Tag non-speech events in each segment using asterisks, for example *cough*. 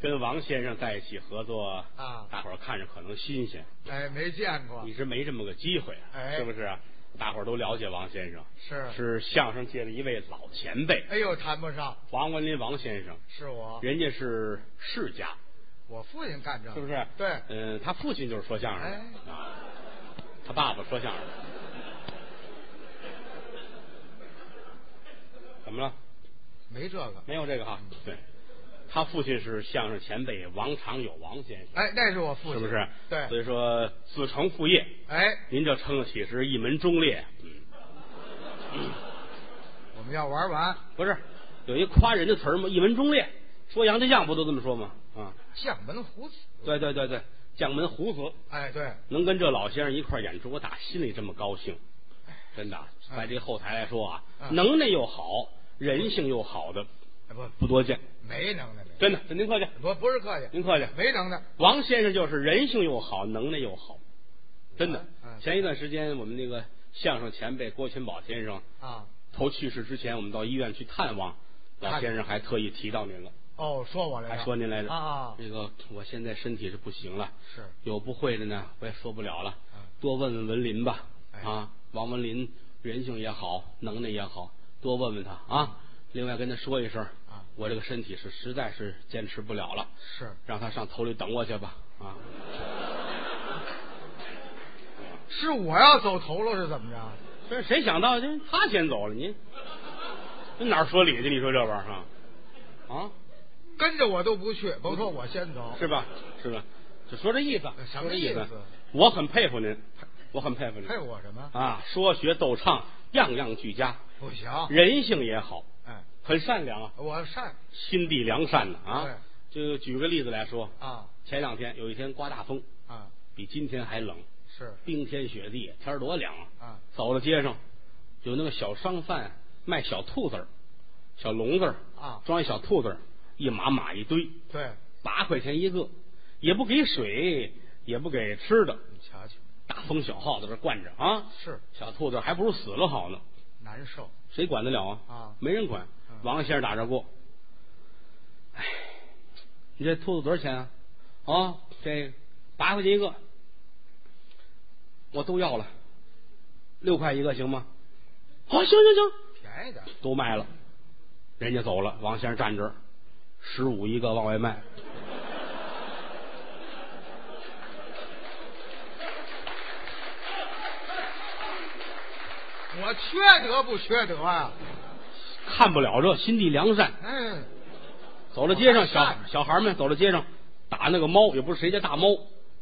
跟王先生在一起合作啊大伙儿看着可能新鲜，哎，没见过一，直没这么个机会，哎是不是啊？大伙儿都了解王先生，是是相声界的一位老前辈，哎呦，谈不上，王文林王先生，是我，人家是世家，我父亲干这个，是不是？啊对，哎嗯，他父亲就是说相声的啊，他爸爸说相声的。怎么了？没这个，没有这个哈？嗯对，他父亲是相声前辈王长友王先生，哎，那是我父亲，是不是？所对，以说子承父业，哎，您这撑得起是一门忠烈。嗯，我们要玩完不是，有一夸人的词儿吗？一门忠烈，说杨家将不都这么说吗？啊，将门虎子，对对对对，将门虎子。哎，对，能跟这老先生一块儿演出，我打心里这么高兴，真的，在这后台来说啊，嗯能耐又好，人性又好的哎不，不多见，没能耐，真的，您客气，不不是客气，您客气。没能耐，王先生就是人性又好，能耐又好，真的嗯。嗯前一段时间，我们那个相声前辈郭全宝先生啊，头去世之前，我们到医院去探望，老看先生还特意提到您了，哦，说我来还着，说您来着啊，这个我现在身体是不行了，是，有不会的呢，我也说不了了嗯，多问问文林吧。哎啊，王文林人性也好，能耐也好，多问问他啊。另外跟他说一声，嗯啊我这个身体是实在是坚持不了了，是让他上头里等我去吧。啊，嗯是我要走头了是怎么着？这谁想到这他先走了？你这哪儿说理去？你说这玩意儿啊？啊，跟着我都不去，甭说我先走，是吧？是吧？就说这意思，呃什说么这意思思？我很佩服您，我很佩服您配我什么？啊！说学逗唱样样俱佳，不行，人性也好，哎，很善良啊，我善心地良善的对啊。就举个例子来说，啊前两天有一天刮大风，啊，比今天还冷，是冰天雪地，天儿多凉啊！啊，走到街上，有那个小商贩卖小兔子儿、小笼子儿啊装一小兔子儿，一码码一堆，对，八块钱一个，也不给水，也不给吃的，你瞧瞧，大风小号在这惯着啊！是小兔子还不如死了好呢，难受谁管得了啊？啊没人管嗯。王先生打这过，哎，你这兔子多少钱啊？啊，这八块钱一个，我都要了，六块一个行吗？好、行行行，便宜点儿，都卖了，人家走了，王先生站这儿，十五一个往外卖。我缺德不缺德啊？看不了这，心地良善。嗯，走到街上，我还小善小孩们走到街上打那个猫，也不是谁家大猫，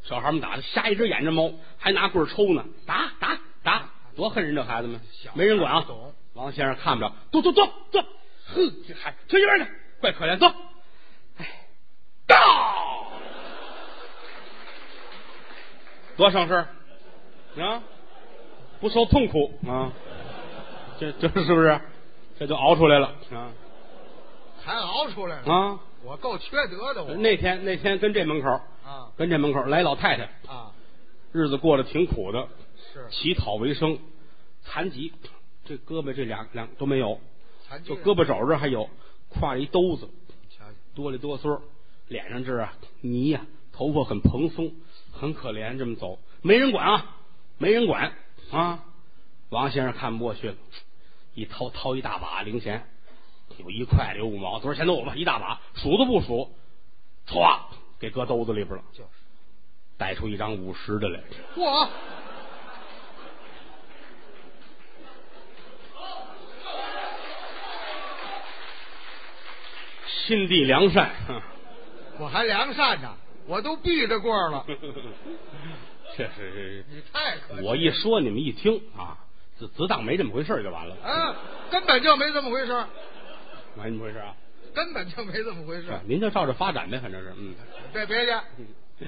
小孩们打的，瞎一只眼这猫，还拿棍儿抽呢，打打打，多恨人这孩子们小，没人管孩啊不懂。王先生看不了，走走走走，哼，这孩子推一边去，怪可怜，走，哎，到，多省事儿啊，不受痛苦啊，这这是不是？这就熬出来了啊还熬出来了，啊！我够缺德的我，那天那天跟这门口，啊跟这门口来老太太，啊日子过得挺苦的，是乞讨为生，残疾，这胳膊这两两都没有，残疾就人胳膊肘这还有，挎着一兜子，瞧瞧，哆里哆嗦，脸上这儿啊泥呀、头发很蓬松，很可怜，这么走，没人管啊，没人管啊。王先生看不过去了，一掏掏一大把零钱，有一块的，有五毛，多少钱都有吧，一大把，数都不数，歘，给搁兜子里边了，就是，带出一张五十的来。嚯，心地良善， *laughs* 哼我还良善呢，我都避着过 *laughs* 了，这是你太可气了我一说你们一听啊，自自当没这么回事儿就完了，啊，根本就没这么回事儿，没这么回事儿啊。根本就没这么回事是啊儿，您就照着发展呗，反正是，嗯，别别 *laughs* 介，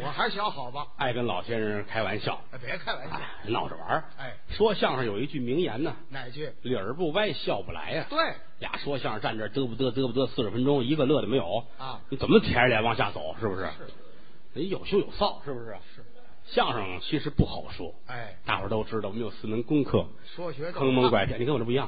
我还小好吧，爱跟老先生开玩笑，哎别开玩笑，哎，闹着玩儿。哎，说相声有一句名言呢，哪句？理儿不歪，笑不来呀、啊对，俩说相声站这儿嘚不嘚嘚不嘚，四十分钟一个乐的没有啊你怎么舔着脸往下走？是不是？是人有羞有臊，是不是？是，啊相声其实不好说，哎，大伙儿都知道，我们有四门功课，说学逗坑蒙唱拐骗。你跟我这不一样，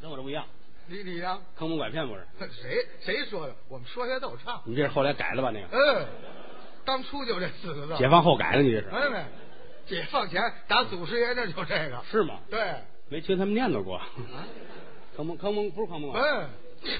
跟我这不一样。李李阳，坑蒙拐骗不是？谁谁说的？我们说学逗唱。你这是后来改了吧？那个嗯，当初就这四个字。解放后改的，你这是没没，解放前打祖师爷那就这个。是吗？啊对，没听他们念叨过。啊，坑蒙坑蒙不是坑蒙啊，嗯，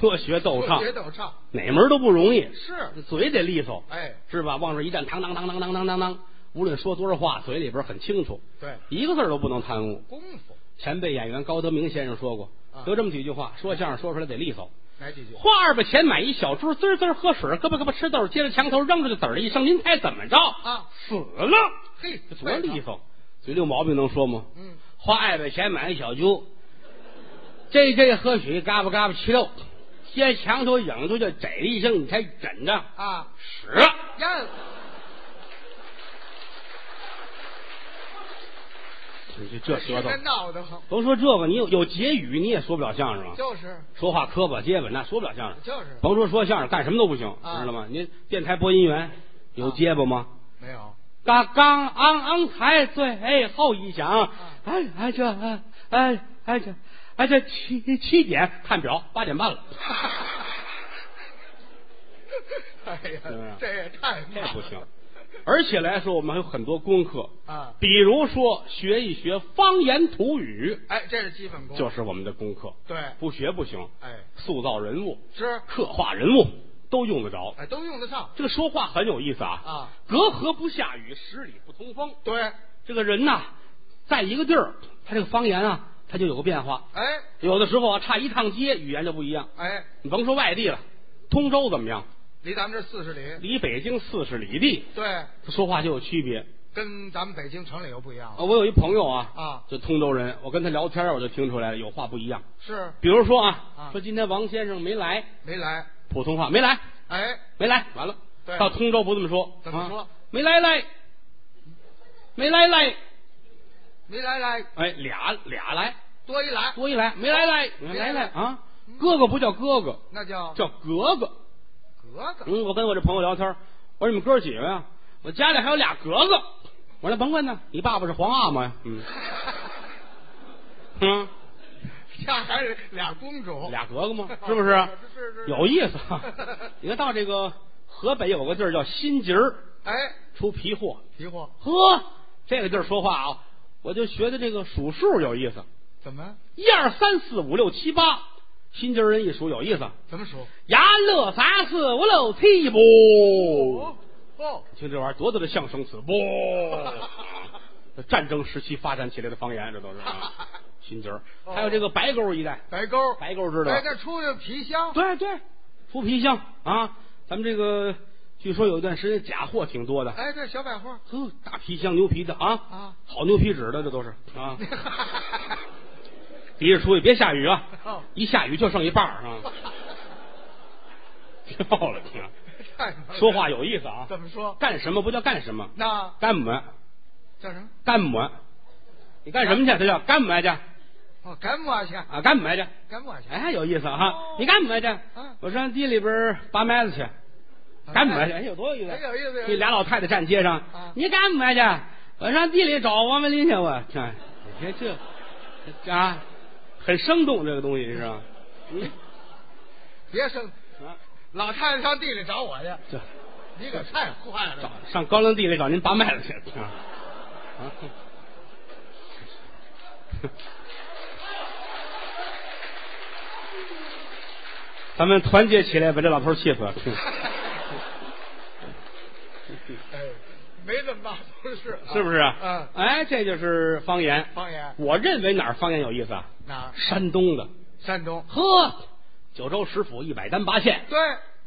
这学逗唱学逗唱哪门儿都不容易，是，嘴得利索，哎，是吧？往这一站，当当当当当当当当，无论说多少话，嘴里边很清楚，对，一个字儿都不能贪污。功夫前辈演员高德明先生说过啊，有这么几句话，说相声说出来得利索。来几句。花二百钱买一小猪，滋儿滋儿喝水，咯巴咯巴吃豆，接着墙头扔出去，籽儿一声，您猜怎么着？啊，死了！嘿，这多利索，嘴里有毛病能说吗？嗯，花二百钱买一小猪，J J 喝水，嘎巴嘎巴吃肉，接墙头影出去，贼一声，你猜怎着？啊，屎！呀，你这这舌头啊这，闹得慌，甭说这个，你有有结语你也说不了相声啊，就是说话磕巴结巴那说不了相声。就是甭说说相声，干什么都不行，啊知道吗？您电台播音员有结巴吗？没有。嘎刚昂昂才最后一响，哎哎这哎哎哎这哎这七七点看表八点半了， *laughs* 哎怎么样呀，这也太慢 *laughs* 这了不行。而且来说，我们还有很多功课，啊！比如说学一学方言土语，哎，这是基本功，就是我们的功课，对，不学不行。哎，塑造人物、是，刻画人物都用得着。哎，都用得上这个说话很有意思啊，啊。隔河不下雨，十里不通风。对，这个人呐、在一个地儿，他这个方言啊，他就有个变化。哎有的时候啊，差一趟街，语言就不一样。哎，你甭说外地了，通州怎么样？离咱们这四十里，离北京四十里地，对，他说话就有区别。跟咱们北京城里又不一样啊了我有一朋友啊，啊。就通州人，我跟他聊天，我就听出来了，有话不一样。是比如说啊，啊说今天王先生没来，没来，普通话没来，哎，没来，完了，对到通州不这么说，怎么说啊没来来，没来来，没来来，哎，俩俩来，多一来，多一来，没来来，没来没来来来啊嗯，哥哥不叫哥哥，那叫叫格格。格格，嗯，我跟我这朋友聊天儿，我说你们哥几个呀？我家里还有俩格格。我说那甭问呢，你爸爸是皇阿玛呀？ *laughs* 嗯嗯，下还是俩公主，俩格格 *laughs* 吗？是不是？哦是是是有 *laughs* 意思啊。你看到这个河北有个地儿叫新集儿，哎，出皮货。皮货呵，这个地儿说话啊，我就学的这个数数有意思，怎么一二三四五六七八，新集儿人一数有意思。怎么说？牙乐三四五六七不。哦哦，听这玩意儿多大的象声 *laughs* 词，不，战争时期发展起来的方言，这都是 *laughs* 啊，新集儿，哦还有这个白沟一带，白沟，白沟知道吧哎，这出去皮箱，对对，浮皮巷啊，咱们这个据说有一段时间假货挺多的，哎，这小百货呵，大皮箱牛皮的啊，啊，好牛皮纸的这都是 *laughs* 啊，提着出去别下雨啊，哦一下雨就剩一半儿啊，漂亮哦啊，太能了说话有意思啊，怎么说？ *laughs* 干什么不叫干什么，那干么？叫什么？干母，你干什么去？他叫干母去哦，干抹去，啊，干母去。干抹去，哎，有意思哈！你干母去？我上地里边拔麦子去，干母去。嗯哎，有多有意哎思！嗯有意思，有意思这俩老太太站街上，你干母去？我上地里找王文林去。我看，你看这这啊，很生动这个东西是吧？你别生，啊，老太太上地里找我去，这你可太坏找了，上高粱地里找您拔麦子去啊啊！ *laughs* 咱们团结起来，把这老头气死。 *laughs* 哎，没这么大不是，是不是啊？嗯，哎，这就是方言。方言我认为哪儿方言有意思啊？哪儿？山东的，山东，呵，九州十府一百单八县，对，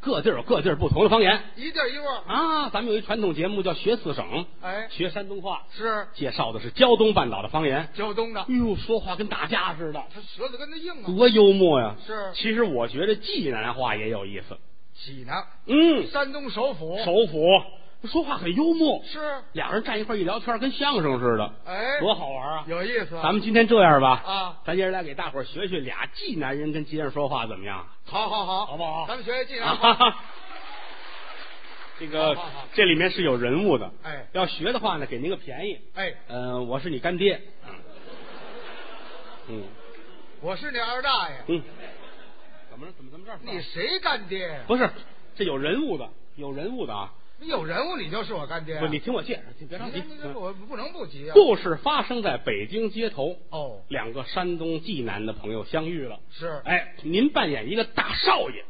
各地儿有各地儿不同的方言一地儿一窝儿，啊。咱们有一传统节目叫学四省，哎，学山东话，是介绍的是胶东半岛的方言。胶东的哎，呦，说话跟打架似的，他舌头跟他硬啊，多幽默呀！是其实我觉得济南话也有意思。济南，嗯，山东首府，首府说话很幽默，是，俩人站一块儿一聊天，跟相声似的，哎，多好玩啊！有意思啊，咱们今天这样吧，啊，咱今儿来给大伙儿学学俩济南人跟街上说话怎么样？好好好，好不好咱们学学济啊南哈话，哈这个好好好这里面是有人物的，哎要学的话呢，给您个便宜。哎，嗯，我是你干爹。嗯我是你二大爷，嗯，么了？怎么怎么这儿？你谁干爹呀？不是，这有人物的，有人物的啊！你有人物，你就是我干爹啊。不，你听我介绍，你别着你急看。你看嗯我不能不急啊。故事发生在北京街头，哦，两个山东济南的朋友相遇了。是哎，您扮演一个大少爷，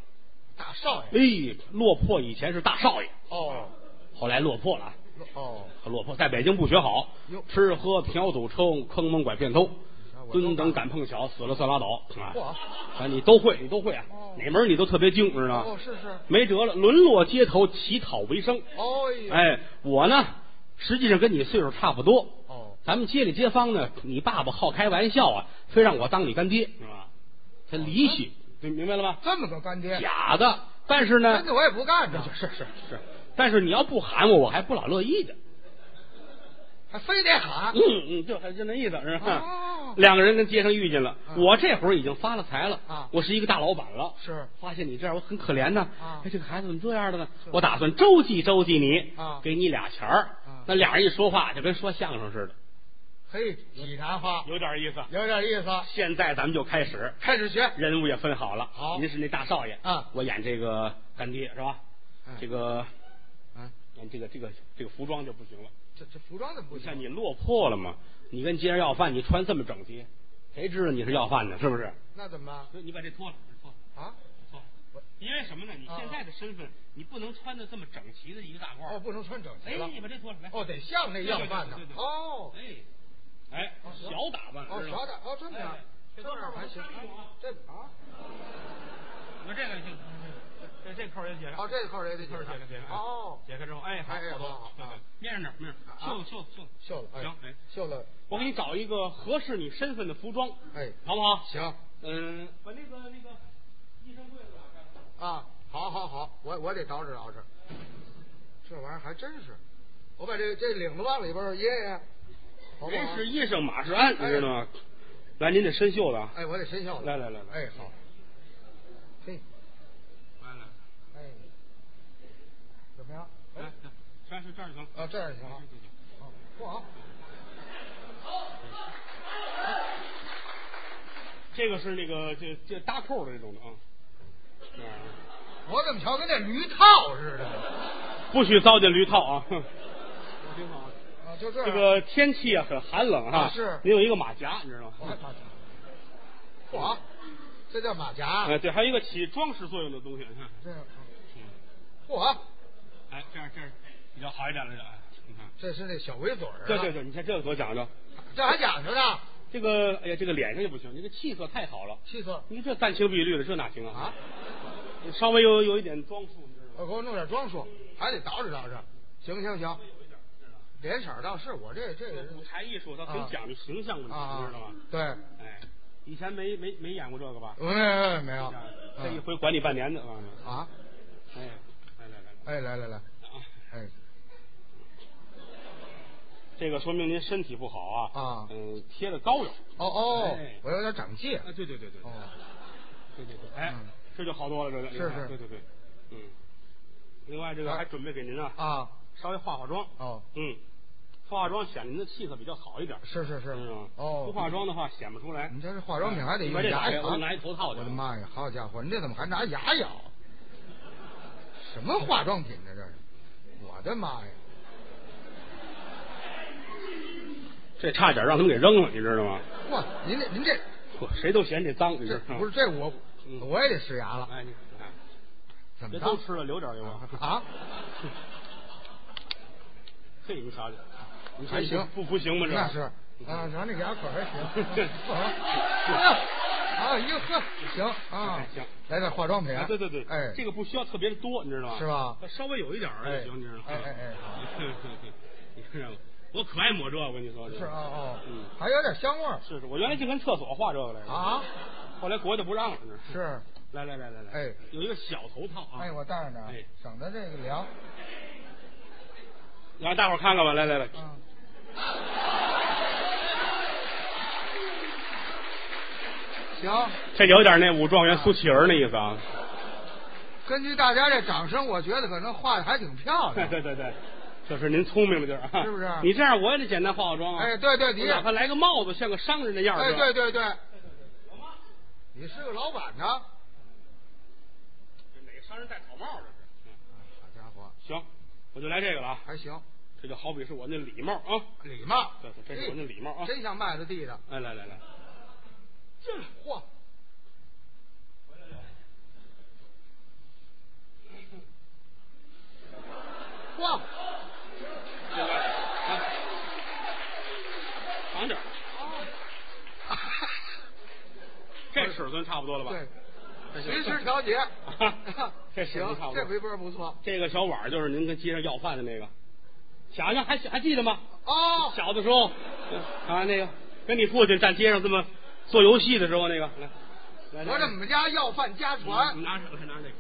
大少爷。哎，落魄以前是大少爷，哦后来落魄了啊。哦，落魄，在北京不学好哟，吃喝嫖赌抽，坑蒙拐骗偷啊，我都蹲等干赶碰巧，死了算拉倒嚯啊！啊，你都会，你都会啊哦，哪门儿你都特别精，知道哦吗？是是。没辙了，沦落街头乞讨为生。哦呀。哎，我呢，实际上跟你岁数差不多。哦，咱们街里街坊呢，你爸爸好开玩笑啊，非让我当你干爹，是吧？他离啊析，对，明白了吧？这么个干爹，假的，但是呢真，的我也不干呢， *laughs* 是是是，但是你要不喊我，我还不老乐意的。还非得喊。嗯嗯，就还就那意思是吧？啊哦，两个人跟街上遇见了，嗯我这会儿已经发了财了啊我是一个大老板了。是发现你这样我很可怜呐，啊哎，这个孩子怎么这样的呢？是我打算周济周济你啊给你俩钱儿啊。那俩人一说话就跟说相声似的，嘿，济南话有点意思。有点意思啊，现在咱们就开始，开始学。人物也分好了。好您是那大少爷啊我演这个干爹是吧？嗯这个，嗯，嗯这个这个这个服装就不行了。这这服装怎么不你看行？你落魄了嘛？你跟街上要饭，你穿这么整齐，谁知道你是要饭的？是不是？那怎么办你把这脱了，脱了，啊？脱了我。因为什么呢？你啊现在的身份，你不能穿的这么整齐的一个大褂。哦，，不能穿整齐哎了，。你把这脱了，来。哦，得像那对，样办呢对对。对对哦哎，哎哦，行小打扮。哦，知道吗小点，哦，这么样哎，这样还行这边有啊。这啊，你看这个行，这这扣儿也解开。哦，这扣儿也得扣哎儿解开，解开。哎哦，解开之后，哎，好哎哎好多好了好对对好面上点儿，面上点儿，啊袖子袖子袖子。秀了，哎行哎，秀了，我给你找一个合适你身份的服装，哎，好不好？行嗯，把那个那个医生柜子打开。啊，好好好，我我得捯饬捯饬，这玩意儿还真是，我把这这领子往里边儿掖掖，好不人好？是医生，马是鞍，你知道吗？来，您得深袖子啊。哎，我得伸袖子，来来来来哎，好，嘿，来来哎，怎么样？哎来，来，这是这儿就行了。啊，这样行这啊儿就，行哦不好，这个是那个这这搭扣的这种的啊。这样啊我怎么瞧跟那驴套似的呢？不许糟践驴套啊！我听好啊。啊，就这样，这个天气啊很寒冷啊，啊是您有一个马甲，你知道我还吗？怕嚯，这叫马甲，哎，对，还有一个起装饰作用的东西，你啊看，这样，啊嚯，哎，这样这样比较好一点了，哎，你看，这是那小围嘴儿啊，这这这，你看这个多讲究，这还讲究呢，这个哎呀，这个脸上也不行，你这气色太好了，气色你这淡情碧绿的，这哪行啊啊？，你稍微有有一点装束，你知道我吗？给我弄点装束，还得捯饬捯饬，行行行，脸色儿倒是我这这这舞台艺术它很啊讲究形象问题，你啊知道吗？，对，哎，以前没没没演过这个吧？没没没这有样，这一嗯回管你半年的啊！啊，哎，来来来哎，来来来，来啊！哎，这个说明您身体不好啊。啊嗯，贴的膏药。哦哦哎，我有点长气，啊，对对对对，哦，对对对，哎嗯，这就好多了，这个是你看是对对对，嗯。另外，这个啊还准备给您啊，啊，稍微化化妆，哦，嗯，化化妆显得您的气色比较好一点，是是是知道吗，嗯哦，嗯不化妆的话显不出来。你这是化妆品还得哎你用把这牙打咬，开我拿一头套我去。的！妈呀，好家伙，你这怎么还拿牙咬？什么化妆品呢？这是，我的妈呀！这差点让他们给扔了，你知道吗？哇，您这您这嚯谁都嫌这脏，你知这道吗？不是这我嗯我也得试牙了，哎，你看，怎么别着都？吃了，留点给我。啊，嘿，你瞧瞧，你说还你行，不不行吗？这嗯那是啊，咱这牙口还行， *laughs* 啊，一个呵，行啊哎，行，来点化妆品哎，，对对对，哎，这个不需要特别多，你知道吗？是吧？稍微有一点儿也行，哎你知道吗？哎哎哎好 *laughs* 你看见了，我可爱抹这，我跟你说是啊哦嗯，还有点香味儿是是，我原来就跟厕所画这个来着，啊，后来国家不让了，你知道吗是，来来来来来，哎，有一个小头套啊，哎，我戴着呢哎，省得这个凉，让大伙儿看看吧，来来来， *laughs* 嗯，行。这有点那武状元苏乞儿那意思啊，根据大家这掌声，我觉得可能画的还挺漂亮。 *laughs* 对对对，这是您聪明的地儿啊，啊是不是你这样我也得简单化化妆啊，哎，对对，哎你你哪怕来个帽子，像个商人的样儿，哎，是吧对对对，你是个老板呢，嗯人戴草帽这是。嗯好家伙，行，我就来这个了啊，还行，这就好比是我那礼帽啊。礼貌对对，这是我那礼貌啊真像麦子地的。哎，来来来，这嚯， *laughs* 嚯，这个啊，长点儿，这尺寸差不多了吧？对，这行。随时调节 *laughs* 这行行差不多，这回波不错。这个小碗儿就是您跟街上要饭的那个，想想还还记得吗？哦，小的时候啊，那个跟你父亲站街上这么做游戏的时候，那个来，来合着我们家要饭家拿传。嗯拿这个拿这个，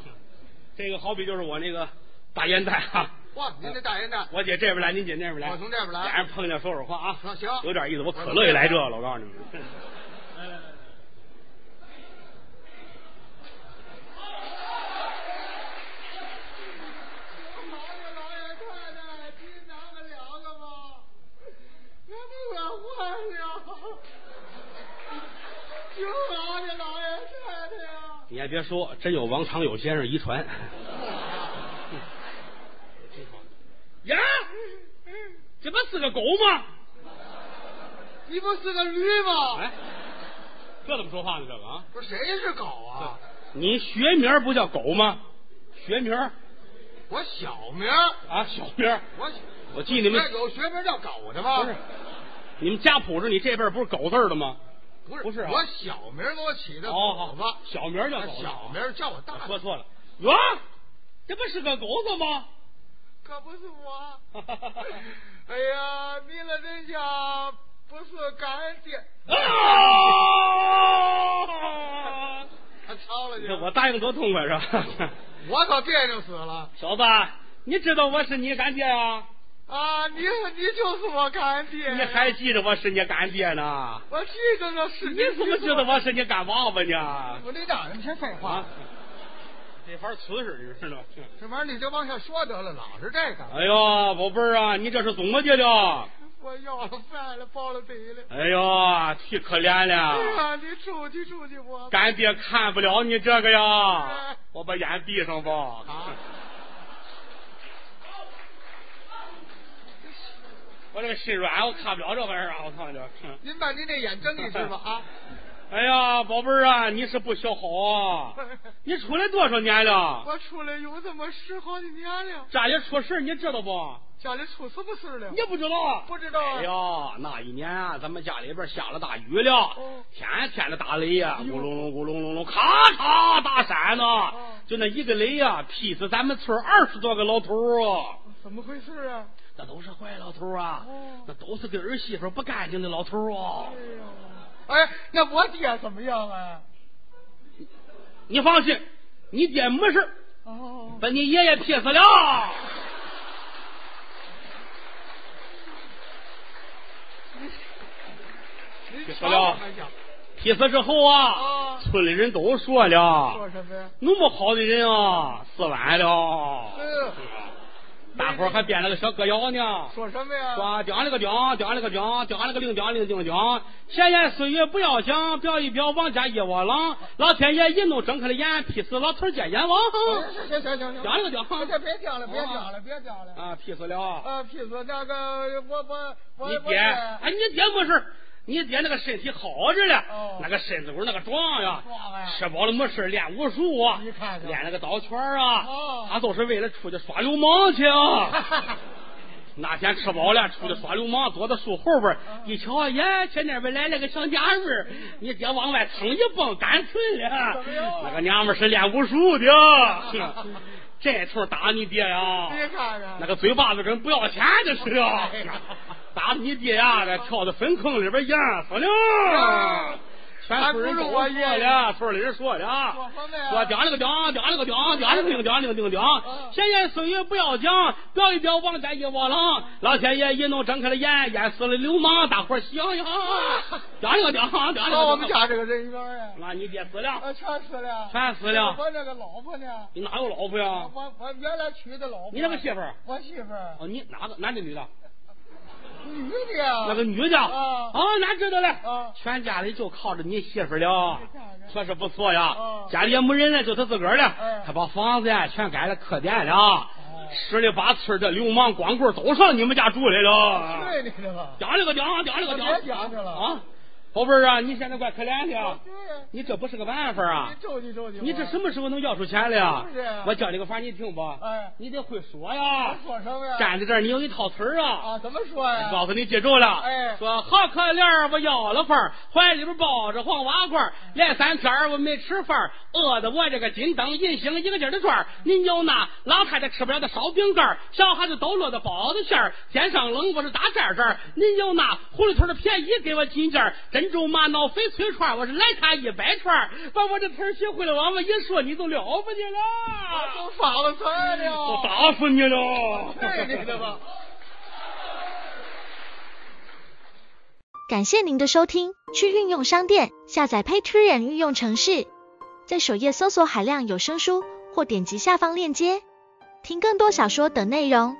这个好比就是我那个大烟袋啊。哇，您这大烟袋，我姐这边来，您姐那边来，我从这边来俩人碰见说说话啊，说行有点意思。我可我乐意来这了，我告诉你们。老爷老爷太太，您拿个聊个吧，那不敢换了。求老爷老爷太太呀！你还别说，真有王长友先生遗传。 *laughs* 呀，这不是个狗吗？你不是个驴吗？哎， *laughs* 这怎么说话呢？这个啊，不是谁是狗啊？你学名儿不叫狗吗？学名儿我小名儿，啊，小名儿我我记你们有学名叫狗的吗？不是，你们家谱上你这辈儿不是狗字儿的吗？不是不是啊我小名给我起的哦，好狗子，小名儿叫那狗字，啊小名儿叫我大我名，说错了。哟，这不是个狗子 *laughs* 吗？可不是 *laughs* 我。哎呀，你老人家不是干爹，啊！他抄了去这。我答应多痛快是吧？ *laughs* 我可别扭死了小子，你知道我是你干爹啊？啊！你你就是我干爹，你还记得我是你干爹呢？我记得那是你怎么知道？我是你干娃 *laughs* 娃呢？我那哪那么些废话啊？，这法儿瓷实，你知道吗？这玩意儿你就往下说得了，老是这个。哎呦，宝贝儿啊，你这是怎么的了？我要了饭了，包了底了。哎呦，忒可怜哎了，呀，你出去出去我吧。干爹看不了你这个呀，我把眼闭上吧。嗯啊！我这个心软，我看不了这玩意儿啊！我操这！哼您把您那眼睁一只吧 *laughs* 啊！哎呀，宝贝儿啊，你是不小 *laughs* 好啊！你出来多少年了？我出来有这么十好几年了，家里出事儿你知道不？家里出什么事了你？也不知道？不知道啊哎呀，那一年啊，咱们家里边下了大雨了，哦天天的打雷呀、哎咕呦隆隆咕隆隆隆，咔嚓大闪呐、哦就那一个雷呀、劈死咱们村二十多个老头儿啊！怎么回事啊？那都是坏老头儿啊，哦那都是跟儿媳妇不干净的老头儿啊！哎，那我爹怎么样啊？你放心，你爹没事儿哦，把你爷爷劈死了。您别瞧说了我们家劈死之后啊，啊村里人都说了，说什么呀？那么好的人啊，死完了。哎呦大伙儿还编了个小歌谣呢，说什么呀？说讲了个讲，讲了个讲，讲了个令，讲了个令讲。闲言碎语不要讲，表一表王家一窝狼。老天爷一怒睁开了眼，劈死老头儿见阎王。行行行行行，讲了个讲别别讲了，别讲了，别讲了。啊，劈死了。啊，屁子，那个我我我你我爹，哎，你爹没事儿，你爹那个身体好着呢哦，那个身子骨那个壮呀壮啊，吃饱了没事儿练武术啊你看，看练那个刀圈儿啊哦，他都是为了出去耍流氓去啊。 *laughs* 那天吃饱了，出去耍流氓，躲到树后边儿嗯一瞧，耶，前那边来了个小娘们儿，你爹往外蹭一蹦，赶村了怎么样。啊那个娘们儿是练武术的， *laughs* 哼这通打你爹呀，你看看哦那个嘴巴子跟不要钱的似的 *laughs* 哎呀，打你爹呀，那跳到坟坑里边淹死了啊。全村人都说了，村里人说了啊，说什么呀说讲了个讲，讲了个讲，讲了个叮，讲了个叮讲嗯。闲言碎语不要讲，表一表王家一窝狼。老天爷一怒睁开了眼，淹死了流氓，大伙儿想 *laughs* 想，讲了个讲，讲了个到我们讲。家这个人缘呀，那你爹死了，啊，全死了，全死了我那个老婆呢？你哪有老婆呀？哦我我原来娶的老婆，你那个媳妇儿我媳妇儿，哦，你哪个男的女的？女的呀，那个女的啊哪知道嘞？啊全家里就靠着你媳妇儿了这样，这说是不错呀啊。家里也没人了，就他自个儿了嗯。哦他把房子呀全改了客店了，十里八村的流氓光棍都上你们家住来啊了。对你的吧？讲这个讲，讲这个别讲这了啊！宝贝儿啊，你现在怪可怜的啊，对呀，你这不是个办法啊你！周济周济我，你这什么时候能要出钱来呀是啊？我教你个法，你听不？哎你得会说呀。说什么呀？站在这儿，你有一套词儿啊。啊？怎么说呀？告诉你，记住了。哎说好可怜儿，我要了饭儿，怀里边抱着黄瓦罐儿，连三天儿我没吃饭儿，饿的我这个筋灯银星一个劲儿的转儿。您有那老太太吃不了的烧饼干儿，小孩子都落的包子馅儿，肩上冷我是大寨寨儿。您有那狐狸腿儿的便宜给我几件儿，珍珠玛瑙翡翠串儿，我是来它一百串儿。把我这词儿学会了，往我一说，你就了不得啊了都，反了词儿我了，打死你了！对你的吧？ *laughs* 感谢您的收听，去运用商店下载 Patreon 运用城市，在首页搜索海量有声书，或点击下方链接听更多小说等内容。